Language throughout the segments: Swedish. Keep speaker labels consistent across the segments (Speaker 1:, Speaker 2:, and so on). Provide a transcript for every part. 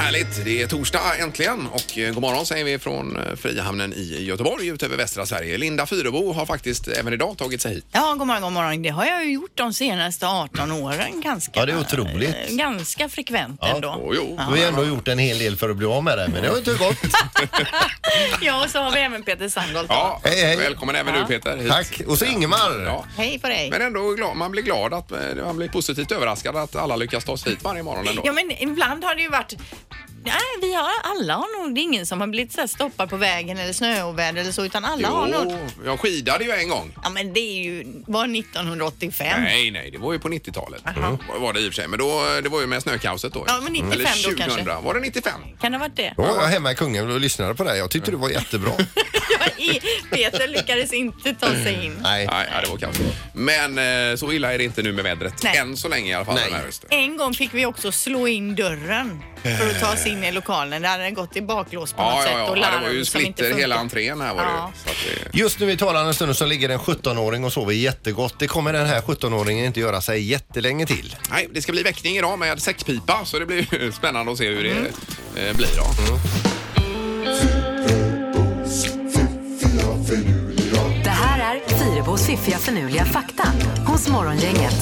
Speaker 1: är torsdag äntligen och eh, god morgon säger vi från eh, Frihamnen i Göteborg ut över västra Sverige. Linda Fyrebo har faktiskt även idag tagit sig hit.
Speaker 2: Ja, god morgon, god morgon. Det har jag ju gjort de senaste 18 åren ganska.
Speaker 3: Ja, det är otroligt.
Speaker 2: eh, Ganska frekvent
Speaker 3: Ja.
Speaker 2: ändå.
Speaker 1: Oh, jo.
Speaker 3: Du har ju ändå gjort en hel del för att bli av med det, men det har inte gått.
Speaker 2: Ja, och så har vi även Peter Sandholt.
Speaker 1: Ja,
Speaker 3: Hej, hej.
Speaker 1: Välkommen även du
Speaker 2: Ja.
Speaker 1: Peter. hit.
Speaker 3: Tack. Och så Ingemar.
Speaker 1: Ja.
Speaker 2: Hej på dig.
Speaker 1: Men ändå glad, man blir glad att eh, man blir positivt överraskad att alla lyckas ta sig hit varje morgon ändå.
Speaker 2: Ja, men ibland har det ju varit Nej, vi har alla har nog, det är ingen som har blivit så här stoppad på vägen eller snöoväder eller så, utan alla har något.
Speaker 1: Jo, jag skidade ju en gång.
Speaker 2: Ja, men det är ju, var 1985.
Speaker 1: Nej, nej, det var ju på 90-talet. Var- Var det i och för sig, men då, eh, det var ju med snökaoset då.
Speaker 2: Ja, men 95
Speaker 1: Eller
Speaker 2: då
Speaker 1: 2000.
Speaker 2: kanske.
Speaker 1: Var det 95?
Speaker 2: Kan det ha varit det?
Speaker 3: Ja, jag var hemma i Kungälv och lyssnade på det. här. Jag tyckte det var jättebra.
Speaker 2: Jag är- Peter lyckades inte ta sig in.
Speaker 3: Nej.
Speaker 1: Nej, ja, det var kaos. Men eh, så illa är det inte nu med vädret.
Speaker 2: Nej.
Speaker 1: Än så länge i alla fall.
Speaker 3: Nej.
Speaker 1: Den här hösten.
Speaker 2: En gång fick vi också slå in dörren för att ta oss in i lokalen. Det hade gått i baklås på något
Speaker 1: Eh. Ja,
Speaker 2: sätt
Speaker 1: ja,
Speaker 2: och
Speaker 1: ja.
Speaker 2: larm
Speaker 1: ja, det var ju
Speaker 2: som inte
Speaker 1: splitter
Speaker 2: funkar.
Speaker 1: hela entrén här var det
Speaker 2: Ja.
Speaker 1: ju. Så att det...
Speaker 3: Just nu i talande stund så ligger en 17-åring och sover jättegott. Det kommer den här 17-åringen inte göra sig jättelänge till.
Speaker 1: Nej, det ska bli väckning idag med säckpipa så det blir ju spännande att se hur det
Speaker 2: Mm.
Speaker 1: eh, blir. Då.
Speaker 4: Det här är Fyrabos fiffiga förnuliga fakta hos Morgongänget.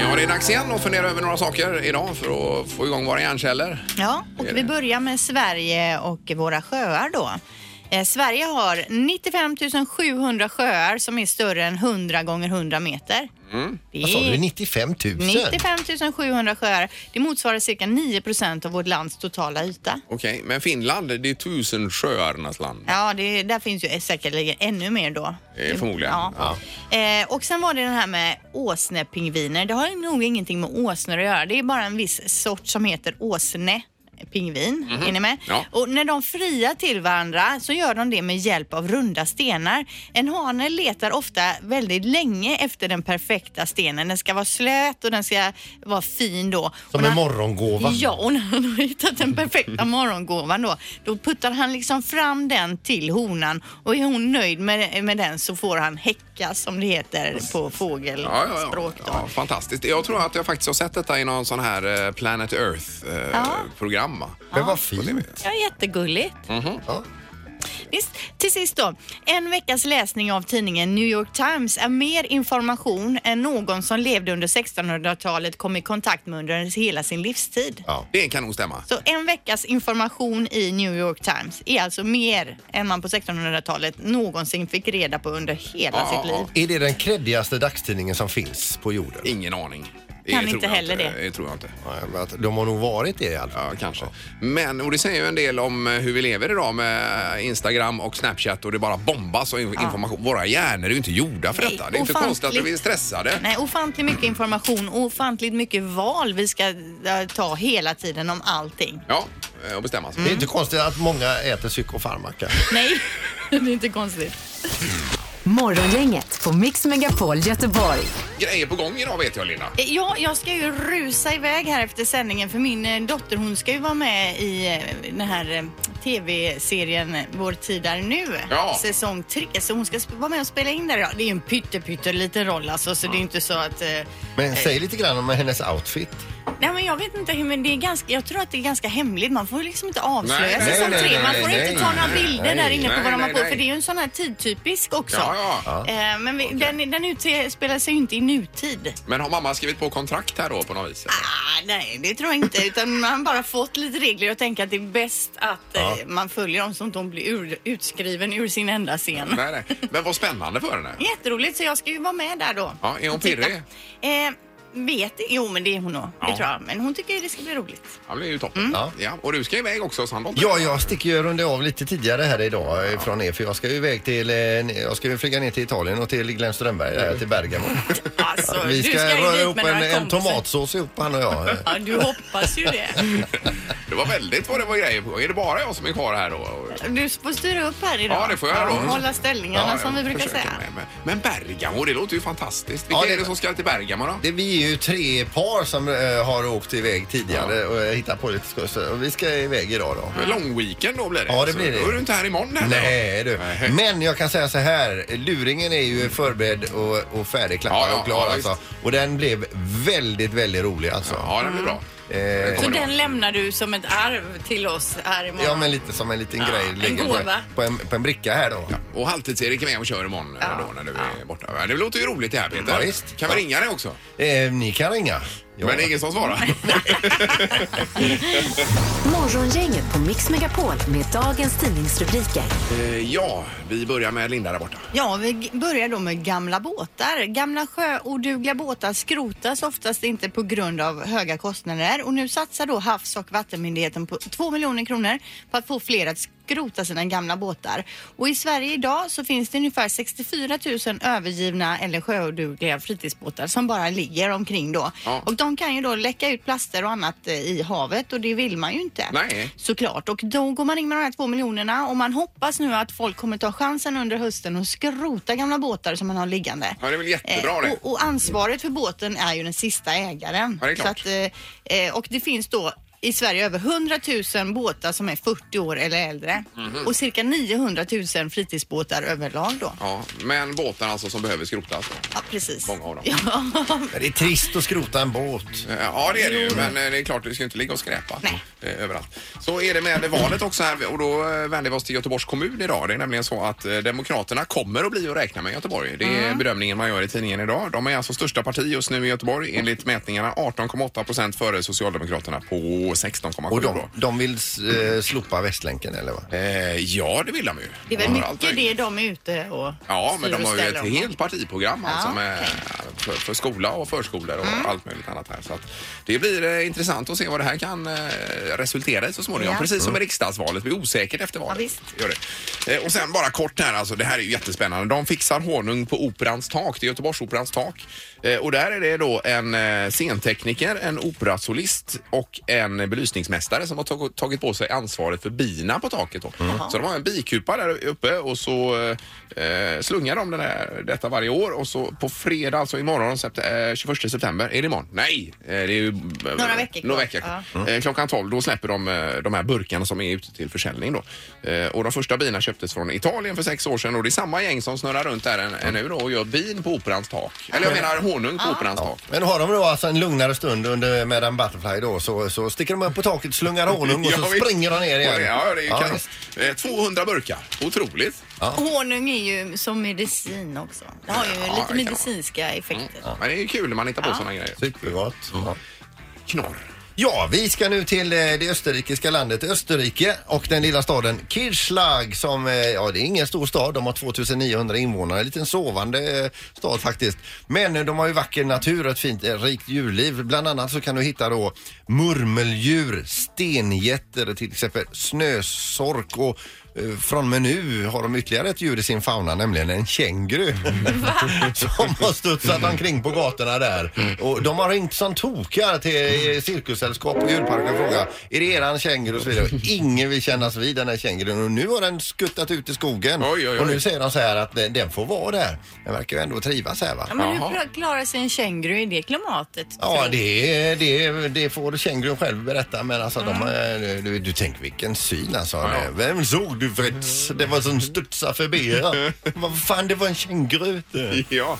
Speaker 1: Ja, det är dags igen att fundera över några saker idag för att få igång våra hjärnceller.
Speaker 2: Ja, och vi börjar med Sverige och våra sjöar då. Eh, Sverige har 95 700 sjöar som är större än 100 gånger 100 meter. Det
Speaker 1: Mm.
Speaker 3: Vad sa du?
Speaker 2: är
Speaker 3: 95 000?
Speaker 2: 95 700 sjöar. Det motsvarar cirka 9 procent av vårt lands totala yta.
Speaker 1: Okej, men Finland, det är tusen sjöarnas land.
Speaker 2: Ja, det, där finns ju säkerligen ännu mer då.
Speaker 1: Eh, förmodligen.
Speaker 2: Ja. Eh, och sen var det den här med åsnepingviner. Det har ju nog ingenting med åsnor att göra. Det är bara en viss sort som heter åsne. Pingvin, är ni med?
Speaker 1: Mhm. Ja.
Speaker 2: Och när de friar till varandra så gör de det med hjälp av runda stenar. En hane letar ofta väldigt länge efter den perfekta stenen. Den ska vara slät och den ska vara fin då.
Speaker 3: Som
Speaker 2: Och när-
Speaker 3: en morgongåva.
Speaker 2: Ja, och när han har hittat den perfekta morgongåvan då, då puttar han liksom fram den till honan och är hon nöjd med, med den så får han häcka som det heter på
Speaker 1: Ja, ja, ja.
Speaker 2: fågelspråk. Då.
Speaker 1: ja, fantastiskt. Jag tror att jag faktiskt har sett detta i någon sån här eh, Planet
Speaker 2: Ja.
Speaker 1: Earth-program.
Speaker 3: Men vad fint.
Speaker 2: Ja, jättegulligt.
Speaker 3: Ja.
Speaker 2: Visst. Till sist då. En veckas läsning av tidningen New York Times är mer information än någon som levde under 1600-talet kom i kontakt med under hela sin livstid.
Speaker 3: Ja.
Speaker 1: Det kan nog stämma.
Speaker 2: Så en veckas information i New York Times är alltså mer än man på 1600-talet någonsin fick reda på under hela
Speaker 1: Ja,
Speaker 2: sitt
Speaker 1: ja,
Speaker 2: liv.
Speaker 3: Är det den kreddigaste dagstidningen som finns på jorden?
Speaker 1: Ingen aning. Det
Speaker 2: Kan
Speaker 1: tror
Speaker 2: inte
Speaker 1: jag
Speaker 2: heller
Speaker 1: inte.
Speaker 2: det.
Speaker 1: Det tror jag inte.
Speaker 3: Ja, men att De har nog varit det i alla fall.
Speaker 1: Ja, kanske. Men, och det säger ju en del om eh, hur vi lever idag med eh, Instagram och Snapchat och det bara bombas och in- information. Våra hjärnor är ju inte gjorda för
Speaker 2: Nej,
Speaker 1: detta. Det är inte konstigt att vi är
Speaker 2: ofantligt.
Speaker 1: stressade.
Speaker 2: Nej, ofantligt mycket information och ofantligt mycket val vi ska eh, ta hela tiden om allting.
Speaker 1: Ja, eh, och bestämma sig.
Speaker 3: Det är inte konstigt att många äter psykofarmaka.
Speaker 2: Nej, det är inte konstigt.
Speaker 4: Morgongänget på Mix Megapol Göteborg.
Speaker 1: Grejer på gång idag vet jag Linda.
Speaker 2: Eh, Ja, jag ska ju rusa iväg här efter sändningen för min eh, dotter hon ska ju vara med i eh, den här eh, tv-serien eh, Vår tid är nu,
Speaker 1: Ja.
Speaker 2: säsong tre. Så hon ska sp- vara med och spela in där idag. Det är ju en pytte, pytte liten roll alltså, så det är ju inte så att... eh,
Speaker 3: Men säg lite grann om hennes outfit.
Speaker 2: Nej men jag vet inte, hur- men det är ganska, jag tror att det är ganska hemligt. Man får liksom inte avslöja
Speaker 1: Nej,
Speaker 2: sig
Speaker 1: nej,
Speaker 2: som
Speaker 1: nej,
Speaker 2: tre. Man
Speaker 3: nej,
Speaker 2: får
Speaker 3: nej,
Speaker 2: inte ta
Speaker 3: nej,
Speaker 2: några
Speaker 3: nej,
Speaker 2: bilder
Speaker 3: nej,
Speaker 2: där inne på
Speaker 1: nej,
Speaker 2: vad de har
Speaker 1: nej,
Speaker 2: på
Speaker 1: nej.
Speaker 2: för det är ju en sån här tidtypisk också.
Speaker 1: Ja, ja.
Speaker 2: Eh, Men vi, den, den utspelar sig ju inte i nutid.
Speaker 1: Men har mamma skrivit på kontrakt här då på något vis?
Speaker 2: Ah, nej, det tror jag inte. Utan man har bara fått lite regler och tänker att det är bäst att eh, man följer dem så att de blir ur, utskriven ur sin enda scen.
Speaker 1: Nej, nej. Men vad spännande för henne.
Speaker 2: Jätteroligt, så jag ska ju vara med där då.
Speaker 1: Ja, är hon
Speaker 2: Och titta.
Speaker 1: pirrig?
Speaker 2: Eh, vet Jo, men det är hon nog.
Speaker 1: Ja.
Speaker 2: Det tror jag. Men hon tycker det ska bli roligt.
Speaker 1: Ja, det är ju toppen.
Speaker 2: Mm.
Speaker 1: Ja.
Speaker 3: Ja.
Speaker 1: och du ska iväg också Sandholt.
Speaker 3: Ja, jag sticker ju runda av lite tidigare här idag eh, från er för jag ska ju iväg till, eh, jag ska ju flyga ner till Italien och till Glenn Strömberg, eh, till Bergamo.
Speaker 2: Alltså,
Speaker 3: Vi
Speaker 2: du
Speaker 3: ska,
Speaker 2: ju
Speaker 3: röra
Speaker 2: dit
Speaker 3: ihop
Speaker 2: med
Speaker 3: en,
Speaker 2: några
Speaker 3: en
Speaker 2: kompisar.
Speaker 3: tomatsås ihop han och jag. eh.
Speaker 2: Ja, du hoppas ju det.
Speaker 1: Det var väldigt vad det var grejer på Är det bara jag som är kvar här då?
Speaker 2: Du får styra upp här idag.
Speaker 1: Ja, det får jag då.
Speaker 2: Hålla ställningarna som vi brukar
Speaker 1: försöker
Speaker 2: säga.
Speaker 1: med, men- Men Bergamo, det låter ju fantastiskt. Vilka
Speaker 3: Ja, det-
Speaker 1: är det som ska till Bergamo då?
Speaker 3: Det, vi är ju tre par som eh, har åkt iväg tidigare och eh, hittat på lite skoj. Så Vi ska iväg idag då.
Speaker 1: Det... Lång weekend då blir det.
Speaker 3: Ja, det blir
Speaker 1: Så
Speaker 3: det.
Speaker 1: Då är du inte här imorgon heller.
Speaker 3: Nej du.
Speaker 1: Nej.
Speaker 3: Men jag kan säga så här. Luringen är ju förberedd och, och färdigklappad
Speaker 1: Ja, ja,
Speaker 3: och klar
Speaker 1: ja,
Speaker 3: alltså. Och den blev väldigt, väldigt rolig alltså.
Speaker 1: Ja, det blir bra.
Speaker 3: Eh,
Speaker 5: Så den lämnar du som ett arv till oss här imorgon?
Speaker 3: ja men lite som en liten grej.
Speaker 5: en
Speaker 3: ligger på,
Speaker 5: gåva.
Speaker 3: på, en, på en bricka här då.
Speaker 1: Och halvtids-Erik är med och kör imorgon
Speaker 5: Ja.
Speaker 1: då när du är borta. Ja, Det låter ju roligt det här Peter.
Speaker 3: Ja, visst.
Speaker 1: Kan vi ringa dig också?
Speaker 3: Eh, ni kan ringa. Ja.
Speaker 1: Men det är ingen som svarar.
Speaker 4: Morgongänget på Mix Megapol med dagens tidningsrubriker.
Speaker 1: Eh, ja, vi börjar med Linda där borta.
Speaker 2: Ja, vi g- börjar då med gamla båtar. Gamla sjöodugliga båtar skrotas oftast inte på grund av höga kostnader och nu satsar då Havs och vattenmyndigheten på 2 miljoner kronor på att få fler att skrota sina gamla båtar. Och i Sverige idag så finns det ungefär 64 000 övergivna eller sjöodugliga fritidsbåtar som bara ligger omkring då.
Speaker 1: Ja.
Speaker 2: Och de kan ju då läcka ut plaster och annat eh, i havet och det vill man ju inte.
Speaker 1: Nej.
Speaker 2: Såklart. Och då går man in med de här två miljonerna och man hoppas nu att folk kommer ta chansen under hösten och skrota gamla båtar som man har liggande. Eh,
Speaker 1: Ja, det är väl jättebra det.
Speaker 2: och, och ansvaret för båten är ju den sista ägaren.
Speaker 1: Ja, det är klart.
Speaker 2: Så att, eh, eh, och det finns då i Sverige över 100 000 båtar som är 40 år eller äldre
Speaker 1: Mhm.
Speaker 2: och cirka 900 000 fritidsbåtar överlag då.
Speaker 1: Ja, men båtar alltså som behöver skrotas.
Speaker 2: Ja, precis.
Speaker 1: Många av dem.
Speaker 2: Ja.
Speaker 3: Men det är trist att skrota en båt.
Speaker 1: Eh, Ja, det är det ju, men eh, det är klart du ska ju inte ligga och skräpa
Speaker 2: Nej.
Speaker 1: Eh, överallt. Så är det med valet också här och då eh, vänder vi oss till Göteborgs kommun idag. Det är nämligen så att eh, Demokraterna kommer att bli att räkna med i Göteborg. Det
Speaker 2: Mm.
Speaker 1: är bedömningen man gör i tidningen idag. De är alltså största parti just nu i Göteborg enligt mätningarna. 18,8 procent före Socialdemokraterna på 16,7.
Speaker 3: Och de,
Speaker 1: då.
Speaker 3: de vill s- eh, slopa Västlänken eller vad?
Speaker 1: Eh, ja, det vill de ju.
Speaker 2: Det är väl
Speaker 1: Överallt
Speaker 2: mycket
Speaker 1: möjligt.
Speaker 2: det de är ute och
Speaker 1: Ja, men
Speaker 2: styr
Speaker 1: de
Speaker 2: och
Speaker 1: har ju
Speaker 2: ställer
Speaker 1: ett
Speaker 2: om.
Speaker 1: helt partiprogram alltså
Speaker 2: Ja, Mm.
Speaker 1: med, för, för skola och förskolor och allt möjligt annat här. Så att det blir eh, intressant att se vad det här kan eh, resultera i så småningom.
Speaker 2: Ja.
Speaker 1: Precis som i riksdagsvalet, det blir osäkert efter valet.
Speaker 2: Ja, visst.
Speaker 1: Gör det. Eh, och sen bara kort här, alltså, det här är ju jättespännande. De fixar honung på Operans tak, det är Göteborgsoperans tak. Eh, och där är det då en eh, scentekniker, en operasolist och en belysningsmästare som har tag- tagit på sig ansvaret för bina på taket. Då.
Speaker 2: Mm.
Speaker 1: Så de har en bikupa där uppe och så eh, slungar de den här, detta varje år och så på fredag, alltså imorgon, sept- eh, 21 september, är det imorgon? Nej! Eh, det är ju,
Speaker 2: Några veckor kvar.
Speaker 1: några veckor kvar.
Speaker 2: Ja.
Speaker 1: Eh, Klockan 12 då släpper de eh, de här burkarna som är ute till försäljning. Då. Eh, Och de första bina köptes från Italien för sex år sedan och det är samma gäng som snurrar runt där än- än nu då och gör bin på Operans tak. Eller jag menar honung på Operans tak.
Speaker 3: Men har de då alltså en lugnare stund under Madame Butterfly då så, så sticker de upp på taket, slungar honung och
Speaker 1: Ja,
Speaker 3: så
Speaker 1: visst.
Speaker 3: springer de ner igen.
Speaker 1: Ja, det är ju kanon.
Speaker 3: visst.
Speaker 1: Eh, 200 burkar. Otroligt.
Speaker 2: Honung är ju som medicin också. Det har ju
Speaker 1: Ja, det
Speaker 2: lite
Speaker 1: kan Mm.
Speaker 2: medicinska effekter.
Speaker 1: Men det är ju kul när man hittar på såna grejer.
Speaker 3: Supergott. Ja.
Speaker 1: Knorr.
Speaker 3: Ja, vi ska nu till eh, det österrikiska landet Österrike och den lilla staden Kirchlag som, eh, ja det är ingen stor stad, de har 2900 invånare, en liten sovande eh, stad faktiskt. Men eh, de har ju vacker natur och ett fint eh, rikt djurliv. Bland annat så kan du hitta då murmeldjur, stengätter, till exempel snösork och eh, från och med nu har de ytterligare ett djur i sin fauna, nämligen en känguru. som har studsat omkring på gatorna där. Och de har ringt som tokar till eh, cirkussällskap och djurparken och frågat är det eran känguru och så vidare. Och Ingen vill kännas vid den här kängurun och nu har den skuttat ut i skogen.
Speaker 1: Oj, oj, oj.
Speaker 3: Och nu säger de så här att den, den får vara där. Den verkar ju ändå trivas här va.
Speaker 2: Ja, men hur
Speaker 1: Jaha.
Speaker 2: kla- klarar sig en känguru i det klimatet?
Speaker 3: Ja, det, är- det, är- det får kängurun själv berätta. Men alltså, de, eh, du, du tänker vilken syn alltså.
Speaker 1: Ja.
Speaker 3: Vem såg du Fritz? Det var som studsade förbi. här. Vad fan, det var en känguru. vet du.
Speaker 1: Ja.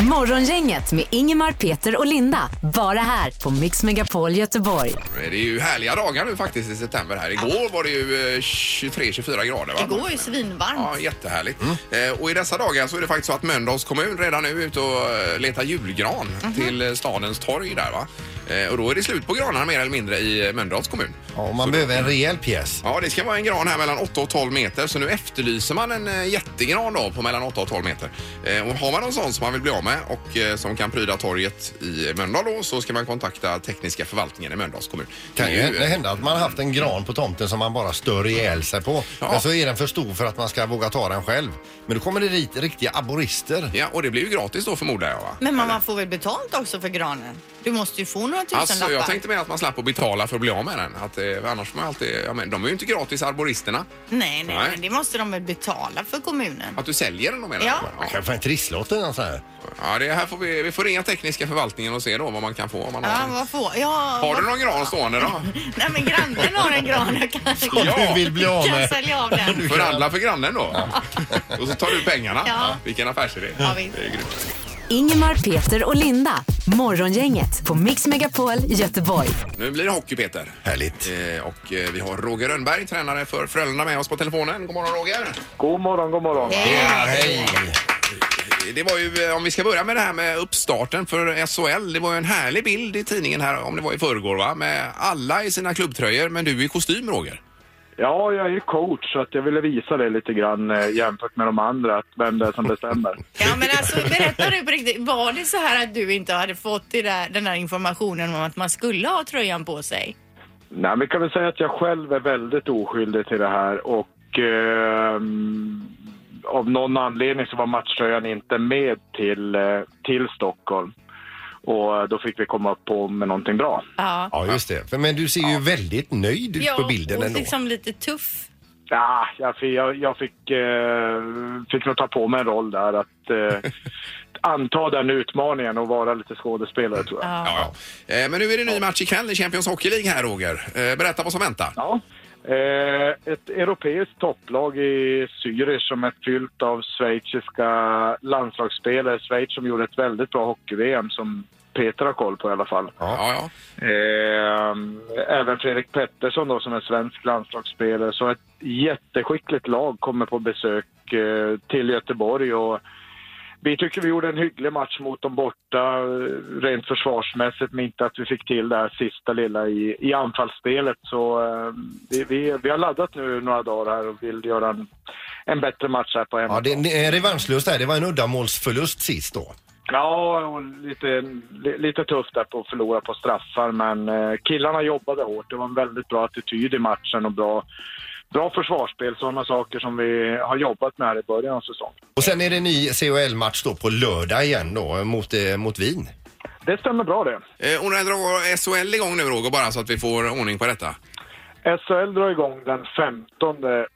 Speaker 4: Morgongänget med Ingemar, Peter och Linda. Bara här på Mix Megapol Göteborg.
Speaker 1: Men Det är ju härliga dagar nu faktiskt i september här. Igår var det ju eh, 23-24 grader va?
Speaker 2: Det går ju svinvarmt.
Speaker 1: Ja, jättehärligt. Eh, och i dessa dagar så är det faktiskt så att Mölndals kommun redan nu är ute och eh, letar julgran till eh, stadens torg där va. Eh, och då är det slut på granarna mer eller mindre i eh, Mölndals kommun.
Speaker 3: Ja, och man behöver en rejäl pjäs.
Speaker 1: Ja, det ska vara en gran här mellan 8 och 12 meter. Så nu efterlyser man en eh, jättegran då på mellan 8 och 12 meter. Eh, och har man någon sån som man vill bli av med och eh, som kan pryda torget i Mölndal då så ska man kontakta tekniska förvaltningen i Mölndals kommun.
Speaker 3: kan ju
Speaker 1: Det är
Speaker 3: hä- hända att man har haft en gran på tomten som man bara stör ihjäl sig på.
Speaker 1: Ja.
Speaker 3: Men så är den för stor för att man ska våga ta den själv. Men då kommer det dit riktiga aborister.
Speaker 1: Ja, och det blir ju gratis då förmodar jag va?
Speaker 2: Men man, man får väl betalt också för granen? Du måste ju få några tusenlappar.
Speaker 1: Alltså, jag tänkte mer att man slapp att betala för att bli av med den. Att, eh, annars får man alltid, ja, men, de är ju inte gratis arboristerna.
Speaker 2: Nej,
Speaker 1: Nej.
Speaker 2: nej, nej, det måste de väl betala för kommunen.
Speaker 1: Att du säljer den menar
Speaker 2: Ja.
Speaker 1: du?
Speaker 3: Man kan få en trisslott eller något sånt här.
Speaker 1: Ja, det här får vi, vi får ringa tekniska förvaltningen och se då vad man kan få. Om man
Speaker 2: Ja,
Speaker 1: har, en.
Speaker 2: vad får jag? Har
Speaker 1: har du någon gran stående då?
Speaker 2: Nej, men grannen har en gran. Jag kan,
Speaker 1: Ja.
Speaker 3: Du vill bli av
Speaker 2: kan
Speaker 3: med.
Speaker 2: sälja av den.
Speaker 1: Förhandla för grannen då. Och så tar du pengarna.
Speaker 2: Ja.
Speaker 1: Vilken affärsidé.
Speaker 2: Ja, visst.
Speaker 1: Det är grymt.
Speaker 4: Ingemar, Peter och Linda. Morgongänget på Mix Megapol Göteborg.
Speaker 1: Nu blir det hockey Peter.
Speaker 3: Härligt.
Speaker 1: Eh, Och eh, vi har Roger Rönnberg, tränare för Frölunda med oss på telefonen. God morgon Roger!
Speaker 6: God morgon, god morgon.
Speaker 3: Hej.
Speaker 1: Det var ju, eh, om vi ska börja med det här med uppstarten för SHL. Det var ju en härlig bild i tidningen här, om det var i förrgår va? Med alla i sina klubbtröjor, men du i kostym Roger.
Speaker 6: Ja, jag är ju coach så att jag ville visa det lite grann eh, jämfört med de andra, att vem det är som bestämmer.
Speaker 2: Ja, men alltså, berätta nu på riktigt. Var det så här att du inte hade fått det där, den där informationen om att man skulle ha tröjan på sig?
Speaker 6: Nej, men kan väl säga att jag själv är väldigt oskyldig till det här och eh, av någon anledning så var matchtröjan inte med till, eh, till Stockholm. Och eh, då fick vi komma på med någonting bra.
Speaker 2: Ja.
Speaker 3: Ja, just det. För- Men du ser ju väldigt nöjd ut
Speaker 2: Ja,
Speaker 3: på bilden
Speaker 2: och
Speaker 3: ändå.
Speaker 2: liksom lite tuff.
Speaker 6: Ja, jag fick, jag, jag fick, eh, fick nog ta på mig en roll där att eh, anta den utmaningen och vara lite skådespelare tror jag.
Speaker 1: Ja, ja. Eh, Men nu är det ny match ikväll i Champions Hockey League här Roger. Eh, Berätta vad som väntar.
Speaker 6: Ja. Eh, ett europeiskt topplag i Zürich som är fyllt av schweiziska landslagsspelare. Schweiz som gjorde ett väldigt bra hockey-VM som Peter har koll på i alla fall.
Speaker 1: Ja, ja.
Speaker 6: Eh, även Fredrik Pettersson då som är svensk landslagsspelare. Så ett jätteskickligt lag kommer på besök eh, till Göteborg och vi tycker vi gjorde en hygglig match mot dem borta eh, rent försvarsmässigt men inte att vi fick till det här sista lilla i, i anfallsspelet. Så eh, vi, vi, vi har laddat nu några dagar här och vill göra en, en bättre match här på
Speaker 3: Ja,
Speaker 6: hemmaplan.
Speaker 3: det är en revanschlust där. Det var en uddamålsförlust sist då.
Speaker 6: Ja, och lite, li- lite tufft där på att förlora på straffar, men eh, killarna jobbade hårt. Det var en väldigt bra attityd i matchen och bra, bra försvarsspel, sådana saker som vi har jobbat med här i början av säsongen.
Speaker 3: Och sen är det en ny CHL-match då på lördag igen då mot, eh, mot Wien.
Speaker 6: Det stämmer bra det.
Speaker 1: Eh, Och när drar SHL igång nu Roger, bara så att vi får ordning på detta?
Speaker 6: SHL drar igång den 15 eh,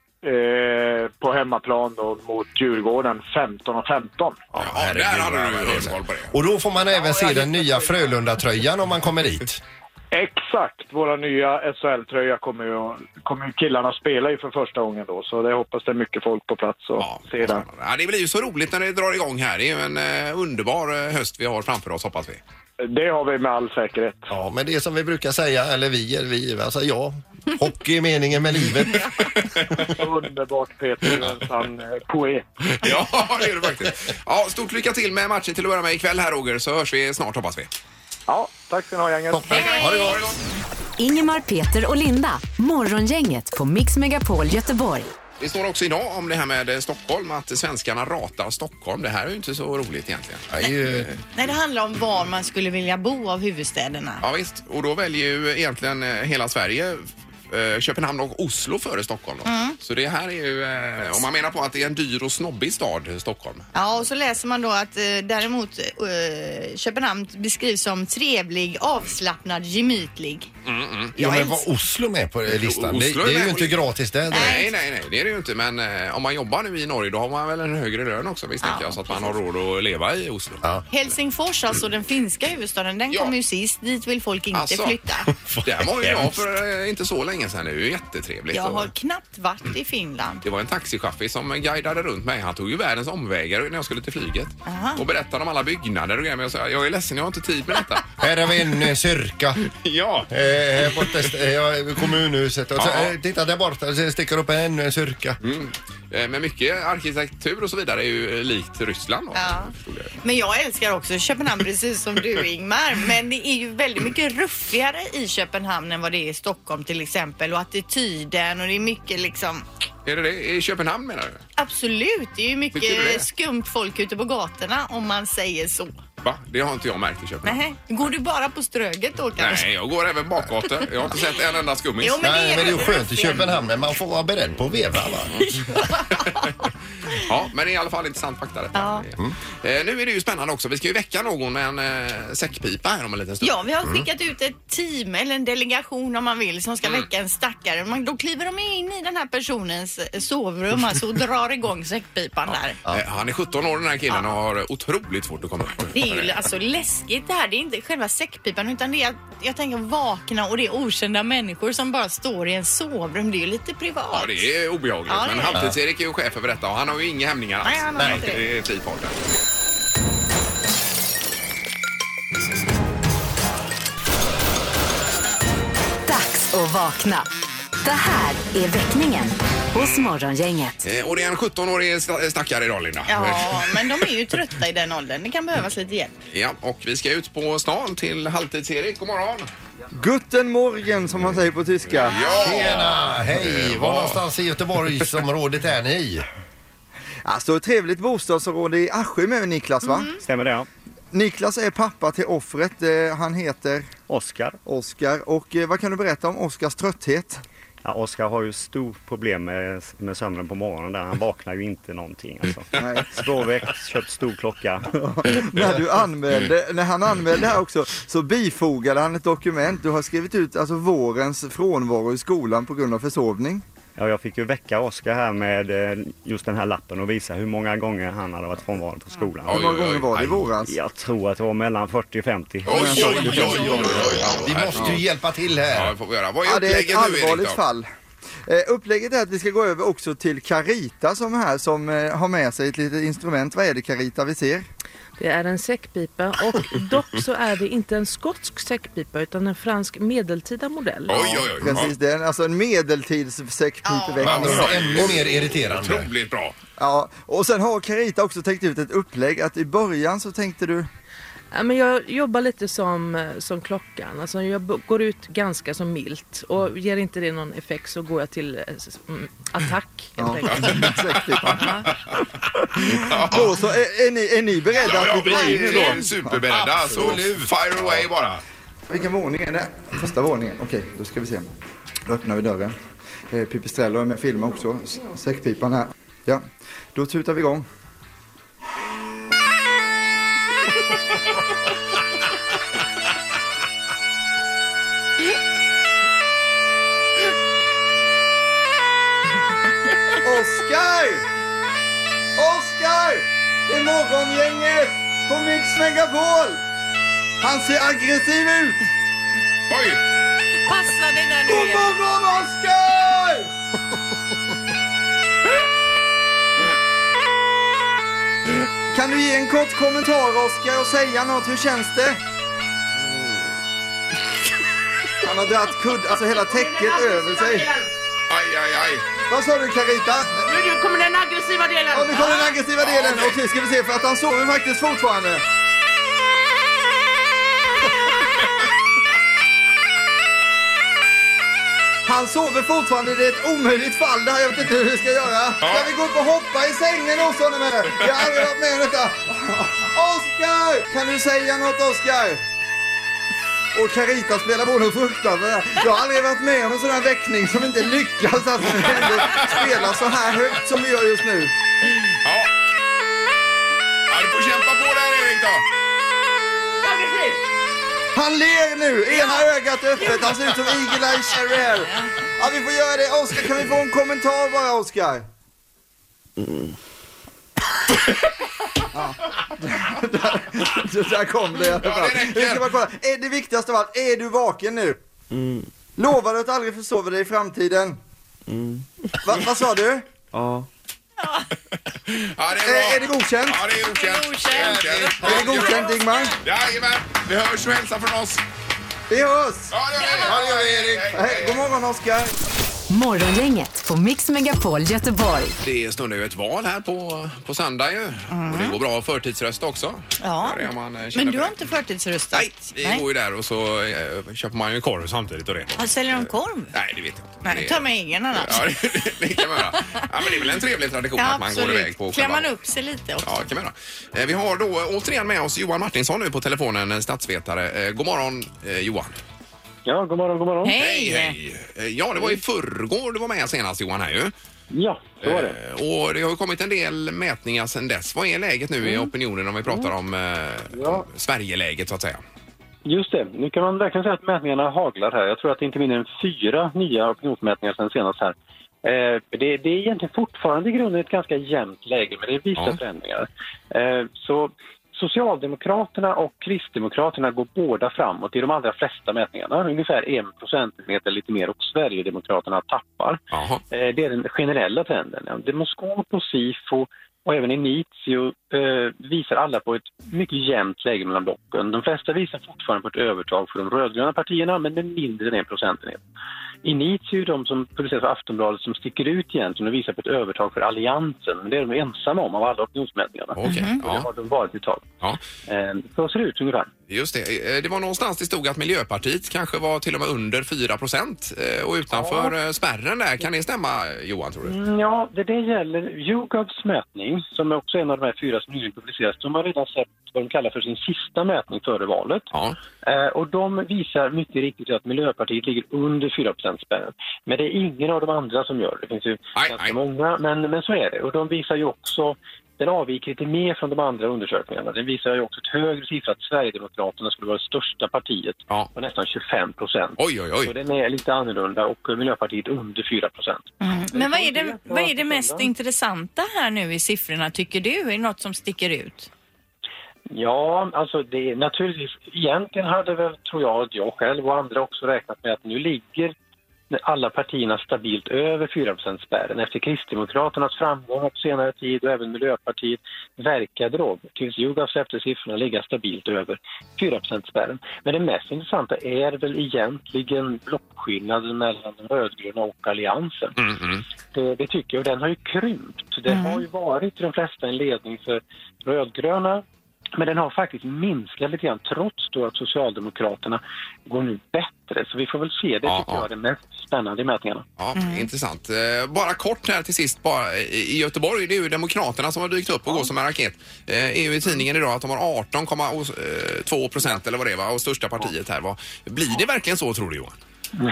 Speaker 6: på hemmaplan då, mot Djurgården 15 och 15.
Speaker 1: Ja,
Speaker 3: herregud,
Speaker 1: där hade
Speaker 3: vad
Speaker 1: du
Speaker 3: härligt.
Speaker 1: hörkoll på det.
Speaker 3: Och då får man även se den nya Frölunda-tröjan om man kommer dit.
Speaker 6: Exakt! Våra nya SHL-tröja kommer ju, kommer ju killarna spela i för första gången då, så det hoppas det är mycket folk på plats och
Speaker 1: Ja,
Speaker 6: ser den.
Speaker 1: ja, det blir ju så roligt när det drar igång här. Det är ju en eh, underbar eh, höst vi har framför oss hoppas vi.
Speaker 6: Det har vi med all säkerhet.
Speaker 3: Ja, men det är som vi brukar säga, eller vi, eller vi, alltså ja. Hockey är meningen med livet.
Speaker 6: Underbart Peter, du är en sann eh, poet.
Speaker 1: Ja, det är det faktiskt. Ja, stort lycka till med matchen till att börja med ikväll här Roger, så hörs vi snart hoppas vi.
Speaker 6: Ja, tack ska ni ha gänget.
Speaker 3: Toppen. Ha det gott!
Speaker 4: Ingemar, Peter och Linda. Morgongänget på Mix Megapol Göteborg.
Speaker 1: Det står också idag om det här med eh, Stockholm, att svenskarna ratar Stockholm. Det här är ju inte så roligt egentligen.
Speaker 3: Det är ju
Speaker 2: Nej, det handlar om var man skulle vilja bo av huvudstäderna.
Speaker 1: Ja visst, och då väljer ju egentligen eh, hela Sverige eh, Köpenhamn och Oslo före Stockholm. Då. Så det här är ju, eh, om man menar på att det är en dyr och snobbig stad, eh, Stockholm.
Speaker 2: Ja, och så läser man då att eh, däremot eh, Köpenhamn beskrivs som trevlig, avslappnad, gemytlig.
Speaker 3: Ja,
Speaker 2: Jag
Speaker 3: men var
Speaker 2: älskar-
Speaker 3: Oslo med på eh, listan? Det,
Speaker 1: Oslo är med
Speaker 3: det är ju
Speaker 1: på
Speaker 3: inte
Speaker 1: listan.
Speaker 3: gratis där direkt.
Speaker 1: Nej, nej, nej, det är det ju inte. Men eh, om man jobbar nu i Norge då har man väl en högre lön också misstänker jag, så att man har råd att leva i Oslo.
Speaker 3: Ja.
Speaker 2: Helsingfors, alltså den finska huvudstaden, den
Speaker 1: Ja.
Speaker 2: kom ju sist. Dit vill folk inte
Speaker 1: Alltså.
Speaker 2: flytta.
Speaker 1: Där var ju jag
Speaker 3: hemskt.
Speaker 1: för eh, inte så länge sedan. Det är ju jättetrevligt.
Speaker 2: Jag
Speaker 1: Och
Speaker 2: har knappt varit i Finland.
Speaker 1: Det var en taxichaufför som guidade runt mig. Han tog ju världens omvägar när jag skulle till flyget.
Speaker 2: Aha.
Speaker 1: Och berättade om alla byggnader och grejer. Men jag sa, jag är ledsen, jag har inte tid med detta.
Speaker 3: Här har vi en eh, kyrka.
Speaker 1: ja,
Speaker 3: Eh, här borta är kommunhuset. Och så,
Speaker 1: Ja.
Speaker 3: eh, titta där borta, så sticker upp ännu en kyrka.
Speaker 2: Mm.
Speaker 1: Eh, Men mycket arkitektur och så vidare är ju eh, likt Ryssland. då.
Speaker 2: Ja.
Speaker 1: Förstod jag.
Speaker 2: Men jag älskar också Köpenhamn precis som du Ingmar. Men det är ju väldigt mycket ruffigare i Köpenhamn än vad det är i Stockholm till exempel. Och attityden och det är mycket liksom
Speaker 1: Är det det? I Köpenhamn menar du?
Speaker 2: Absolut, det är ju mycket
Speaker 1: Tycker du det?
Speaker 2: skumt folk ute på gatorna om man säger så.
Speaker 1: Va? Det har inte jag märkt i Köpenhamn.
Speaker 2: Nähä. Går du bara på Ströget då kanske?
Speaker 1: Nej, jag går även bakgator. Jag har inte sett en enda skummis.
Speaker 2: Jo, Men det är
Speaker 3: Nej, men det är ju skönt i
Speaker 2: ruffigt.
Speaker 3: Köpenhamn, men man får vara beredd på att veva va?
Speaker 1: Ja, men det är i alla fall intressant fakta detta. Mm. Eh, nu är det ju spännande också. Vi ska ju väcka någon med en eh, säckpipa här om en liten stund.
Speaker 2: Ja, vi har skickat ut ett team eller en delegation om man vill som ska väcka en stackare. Man, då kliver de in i den här personens eh, sovrum alltså, och drar igång säckpipan där.
Speaker 1: Eh, han är 17 år den här killen och har otroligt svårt att komma upp.
Speaker 2: Det är ju alltså läskigt det här. Det är inte själva säckpipan utan det är att jag tänker vakna och det är okända människor som bara står i en sovrum. Det är ju lite privat.
Speaker 1: Ja, det är obehagligt.
Speaker 2: Ja, det är
Speaker 1: Men
Speaker 2: det.
Speaker 1: Halvtids-Erik är ju chef över detta och han har ju inga hämningar alls.
Speaker 2: Nej, han har inte det.
Speaker 1: det är fri fart där.
Speaker 4: Dags att vakna. Det här är väckningen hos Morgongänget.
Speaker 1: Eh, Och det är en 17-årig sta- stackare idag, Linda.
Speaker 2: Ja, men de är ju trötta i den åldern. Det kan behövas lite hjälp.
Speaker 1: Ja, och vi ska ut på stan till Halvtids-Erik. God morgon!
Speaker 7: Guten Morgen som man säger på tyska.
Speaker 3: Tjena, hej! Var någonstans i Göteborgsområdet är ni?
Speaker 7: Alltså ett trevligt bostadsområde i Askim är väl Niklas va?
Speaker 1: Mm.
Speaker 8: Stämmer det ja.
Speaker 7: Niklas är pappa till offret. Eh, Han heter
Speaker 8: Oskar.
Speaker 7: Oskar. Och eh, vad kan du berätta om Oskars trötthet?
Speaker 8: Ja, Oskar har ju stort problem med, med sömnen på morgonen där. Han vaknar ju inte någonting alltså.
Speaker 7: Nej.
Speaker 8: Spårväck, köpt stor klocka.
Speaker 7: när, du anmälde, när han anmälde det här också så bifogade han ett dokument. Du har skrivit ut alltså vårens frånvaro i skolan på grund av försovning.
Speaker 8: Ja, jag fick ju väcka Oskar här med eh, just den här lappen och visa hur många gånger han hade varit frånvarande på skolan.
Speaker 1: Ja.
Speaker 7: Hur
Speaker 1: Oj,
Speaker 7: många
Speaker 1: oj,
Speaker 7: gånger var det i
Speaker 1: oj.
Speaker 7: våras?
Speaker 8: Jag tror att det var mellan 40 och 50.
Speaker 3: Vi måste ju hjälpa till
Speaker 1: Ja,
Speaker 3: här.
Speaker 1: det får vi göra. Vad är
Speaker 7: Ja, det är ett
Speaker 1: upplägget nu, Erik?
Speaker 7: allvarligt
Speaker 1: då?
Speaker 7: fall. Eh, upplägget är att vi ska gå över också till Carita som är här som eh, har med sig ett litet instrument. Vad är det Carita vi ser?
Speaker 9: Det är en säckpipa och dock så är det inte en skotsk säckpipa utan en fransk medeltida modell.
Speaker 1: Oj, oj, oj.
Speaker 7: Precis, det är en- alltså en medeltidssäckpipeväxt.
Speaker 3: Man blir ännu mer irriterande.
Speaker 1: Otroligt bra.
Speaker 7: Ja, och sen har Carita också tänkt ut ett upplägg att i början så tänkte du
Speaker 9: Ja, men jag jobbar lite som, eh, som klockan, alltså jag b- går ut ganska så milt och ger inte det någon effekt så går jag till eh, s- mm, attack helt
Speaker 7: Ja,
Speaker 9: enkelt.
Speaker 7: säckpipan. Då så, är, är, ni, är ni beredda
Speaker 1: Ja, ja,
Speaker 7: att vi går
Speaker 1: vi
Speaker 7: in nu då?
Speaker 1: är superberedda. Så fire away bara.
Speaker 7: Vilken våning är det? Första våningen. Okej, då ska vi se. Då öppnar vi dörren. Eh, Pipistrello är med och filmar också. S- Säckpipan här. Ja, då tutar vi igång. Oskar! Oskar! Det är morgongänget på Mix Megapol! Han ser aggressiv ut!
Speaker 1: Oj!
Speaker 5: Passa dig där du
Speaker 7: God
Speaker 5: är.
Speaker 7: morgon Oskar! Kan du ge en kort kommentar Oskar och säga något, hur känns det? Han har dragit kudd, alltså hela täcket över sig.
Speaker 1: Aj, aj, aj.
Speaker 7: Vad sa du Carita?
Speaker 9: Nu kommer den aggressiva delen!
Speaker 7: Ja, nu kommer den aggressiva delen. Okej, ska vi se för att han sover faktiskt fortfarande. Han sover fortfarande, det är ett omöjligt fall det här. Jag vet inte hur vi ska göra. Ska vi gå upp och hoppa i sängen hos honom eller? Jag har aldrig varit med om detta. Oskar! Kan du säga något Oskar? Och Carita spelar både och fruktansvärt. Jag har aldrig varit med om en sån här väckning som inte lyckas att ändå spela så här högt som vi gör just nu.
Speaker 1: Ja. ja, du får kämpa på där, Erik. då.
Speaker 7: Han ler nu, ena ögat öppet. Han ser ut som Eagle-Eye Cherrel. Ja, vi får göra det. Oskar, kan vi få en kommentar bara, Oskar? Ja. Där, där, där kom det i alla fall.
Speaker 1: Ja, det räcker.
Speaker 7: Vi ska bara kolla. Är det viktigaste av allt, är du vaken nu? Lovar du att aldrig försova dig i framtiden? Va, vad sa du?
Speaker 1: Ja, det är, bra.
Speaker 7: Eh, Är, är det godkänt?
Speaker 1: Ja, det är godkänt. Det är godkänt.
Speaker 7: Är det godkänt, Ingmar?
Speaker 1: Jajamän. Vi hörs och hälsar från oss.
Speaker 7: Vi hörs!
Speaker 1: Ja, det gör vi. Ja, det gör vi, Erik. Hej, hej.
Speaker 7: Hej, God morgon, Oskar.
Speaker 4: Morgongänget på Mix Megapol Göteborg.
Speaker 1: Det stundar ju ett val här på, på söndag ju. Och det går bra att förtidsrösta också.
Speaker 2: Ja.
Speaker 1: Det är om man, eh, känner
Speaker 2: Men
Speaker 1: för
Speaker 2: du har
Speaker 1: det.
Speaker 2: inte förtidsröstat?
Speaker 1: Nej, vi går ju där och så eh, köper man ju en korv samtidigt och det.
Speaker 2: Ja, Säljer de korv?
Speaker 1: Nej, det vet jag inte.
Speaker 2: Nej,
Speaker 1: Det-
Speaker 2: ta med egen annars.
Speaker 1: Ja, det, det kan man göra. Ja, men det är väl en trevlig tradition
Speaker 5: Ja,
Speaker 1: att man går iväg på
Speaker 5: absolut. Klär
Speaker 1: själva-
Speaker 5: man upp sig lite också.
Speaker 1: Ja, det kan man göra. Eh, Vi har då eh, återigen med oss Johan Martinsson nu på telefonen, en statsvetare. Eh, God morgon eh, Johan.
Speaker 6: Ja, god morgon, god morgon.
Speaker 1: Hej, hej! Eh, Ja, det var i förrgår du var med senast Johan här ju.
Speaker 6: Ja, så var det.
Speaker 1: Eh, Och det har ju kommit en del mätningar sedan dess. Vad är läget nu
Speaker 6: Mm.
Speaker 1: i opinionen om vi pratar om, eh, om Sverigeläget så att säga?
Speaker 6: Just det. Nu kan man verkligen säga att mätningarna haglar här. Jag tror att det är inte mindre än fyra nya opinionsmätningar sen senast här. Eh, det, det är egentligen fortfarande i grunden ett ganska jämnt läge, men det är vissa förändringar. Eh, så Socialdemokraterna och Kristdemokraterna går båda framåt i de allra flesta mätningarna. Ungefär en procentenhet lite mer och Sverigedemokraterna tappar. Eh, det är den generella trenden. Demoskop och SIFO och även Initio eh, visar alla på ett mycket jämnt läge mellan blocken. De flesta visar fortfarande på ett övertag för de rödgröna partierna, men med mindre än en procentenhet. Initio, de som publiceras av Aftonbladet, som sticker ut egentligen och visar på ett övertag för Alliansen. Men det är de ensamma om av alla opinionsmätningarna.
Speaker 1: Mhm.
Speaker 6: Och det har de varit ett tag. Eh, så ser det ut ungefär.
Speaker 1: Just det, Eh, det var någonstans det stod att Miljöpartiet kanske var till och med under 4 procent och utanför eh, spärren där. Kan det stämma Johan tror du?
Speaker 6: Mm, Ja, det, det gäller YouGovs mätning, som är också en av de här fyra som nyligen publicerats. De har redan sett vad de kallar för sin sista mätning före valet. Eh, och de visar mycket riktigt att Miljöpartiet ligger under 4 spärren. Men det är ingen av de andra som gör det. Det finns ju ganska många, men, men så är det. Och de visar ju också den avviker lite mer från de andra undersökningarna. Den visar ju också ett högre siffra att Sverigedemokraterna skulle vara det största partiet på nästan 25 procent.
Speaker 1: Oj, oj, oj.
Speaker 6: Så den är lite annorlunda och eh, Miljöpartiet under 4 procent.
Speaker 2: Mm. Men vad är, det, vad är det mest intressanta här nu i siffrorna tycker du? Är det något som sticker ut?
Speaker 6: Ja, alltså det är naturligtvis. Egentligen hade väl, tror jag, att jag själv och andra också räknat med att nu ligger alla partierna stabilt över 4%-spärren. Efter Kristdemokraternas framgångar på senare tid och även Miljöpartiet verkade då, tills Yougov släppte siffrorna, ligga stabilt över 4%-spärren. Men det mest intressanta är väl egentligen blockskillnaden mellan de rödgröna och Alliansen.
Speaker 1: Mm,
Speaker 6: Eh, Det, det tycker jag. Och Den har ju krympt. Det har ju varit i de flesta en ledning för rödgröna men den har faktiskt minskat lite grann trots då att Socialdemokraterna går nu bättre. Så vi får väl se. Det tycker jag är det mest spännande i mätningarna.
Speaker 1: Ja, intressant. Eh, Bara kort här till sist bara. I i Göteborg, det är ju Demokraterna som har dykt upp och går som en raket. Eh, Är ju i tidningen idag att de har 18,2 eh, procent eller vad det var och största partiet här. Vad- Blir det verkligen så tror du Johan?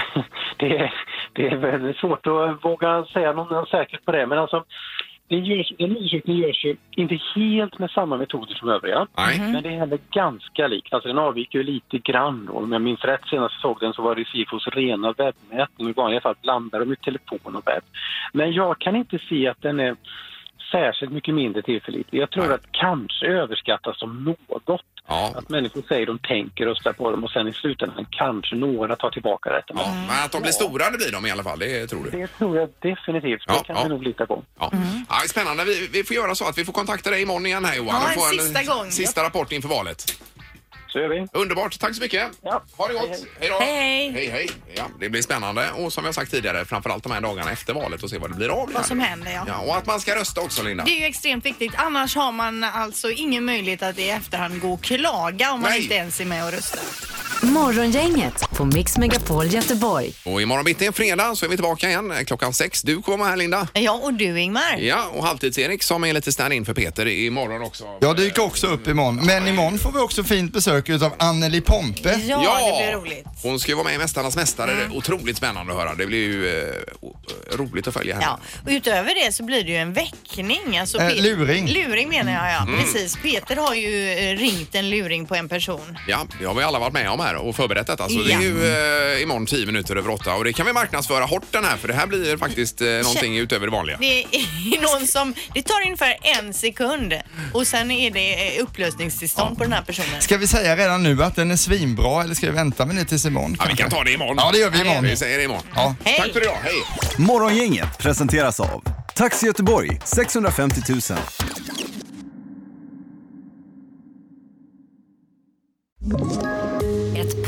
Speaker 6: Det är, det är väldigt svårt att eh, våga säga något säkert på det. Men alltså, det görs, den undersökningen görs ju inte helt med samma metoder som övriga.
Speaker 9: Mm.
Speaker 8: Mhm.
Speaker 6: Men det är heller ganska likt. Alltså den avviker ju lite grann då. Om jag minns rätt senast jag såg den så var det Sifos rena webbmätning. I vanliga fall blandar de ju telefon och webb. Men jag kan inte se att den är särskilt mycket mindre tillförlitlig. Jag tror att kanske överskattas som något. Att människor säger de tänker rösta på dem och sen i slutändan kanske några tar tillbaka rätten.
Speaker 1: Men att de blir stora, det blir de i alla fall. Det tror du?
Speaker 6: Det tror jag definitivt. Det kan vi nog lita på.
Speaker 1: Ja. Ja, spännande. Vi, vi får göra så att vi får kontakta dig imorgon igen här Johan.
Speaker 6: Ja,
Speaker 1: och få
Speaker 6: en sista gång.
Speaker 1: Sista rapport inför valet.
Speaker 6: Så gör vi.
Speaker 1: Underbart. Tack så mycket. Ha det gott. Hej då.
Speaker 2: Hej.
Speaker 1: Hej, hej. Ja, det blir spännande och som jag sagt tidigare, framförallt de här dagarna efter valet och se vad det blir av det
Speaker 2: Vad
Speaker 1: här.
Speaker 2: som händer ja.
Speaker 1: Ja, och att man ska rösta också Linda.
Speaker 2: Det är ju extremt viktigt. Annars har man alltså ingen möjlighet att i efterhand gå och klaga om man inte ens är med och röstar.
Speaker 4: Morgongänget på Mix Megapol Göteborg.
Speaker 1: Och imorgon bitti är fredag så är vi tillbaka igen eh, klockan sex. Du kommer vara här Linda.
Speaker 2: Ja, och du Ingmar.
Speaker 1: Ja, och Halvtids-Erik som är lite stand-in för Peter imorgon också.
Speaker 10: Jag dyker också upp imorgon. Men imorgon får vi också fint besök utav Anneli Pompe.
Speaker 1: Hon ska ju vara med i Mästarnas Mästare. Det är
Speaker 2: Mm.
Speaker 1: otroligt spännande att höra. Det blir ju eh, o- roligt att följa henne.
Speaker 2: Ja, och utöver det så blir det ju en väckning. Alltså
Speaker 1: Eh,
Speaker 2: Pe-
Speaker 1: luring.
Speaker 2: Luring menar jag, ja.
Speaker 1: Mm.
Speaker 2: Precis. Peter har ju eh, ringt en luring på en person.
Speaker 1: Ja, det har vi alla varit med om här och förberett detta. Så det är ju eh, imorgon 10 minuter över åtta och det kan vi marknadsföra hårt den här för det här blir faktiskt eh, någonting utöver det vanliga.
Speaker 2: Det är någon som, det tar ungefär en sekund och sen är det eh, upplösningstillstånd på den här personen.
Speaker 10: Ska vi säga redan nu att den är svinbra eller ska vi vänta med det tills imorgon?
Speaker 1: Ja, vi kan ta det imorgon.
Speaker 10: Ja, det gör vi imorgon.
Speaker 1: Vi säger det imorgon.
Speaker 10: Ja.
Speaker 2: Hej.
Speaker 1: Tack för idag, hej!
Speaker 11: Morgongänget presenteras av Taxi Göteborg 650 000.
Speaker 12: Ett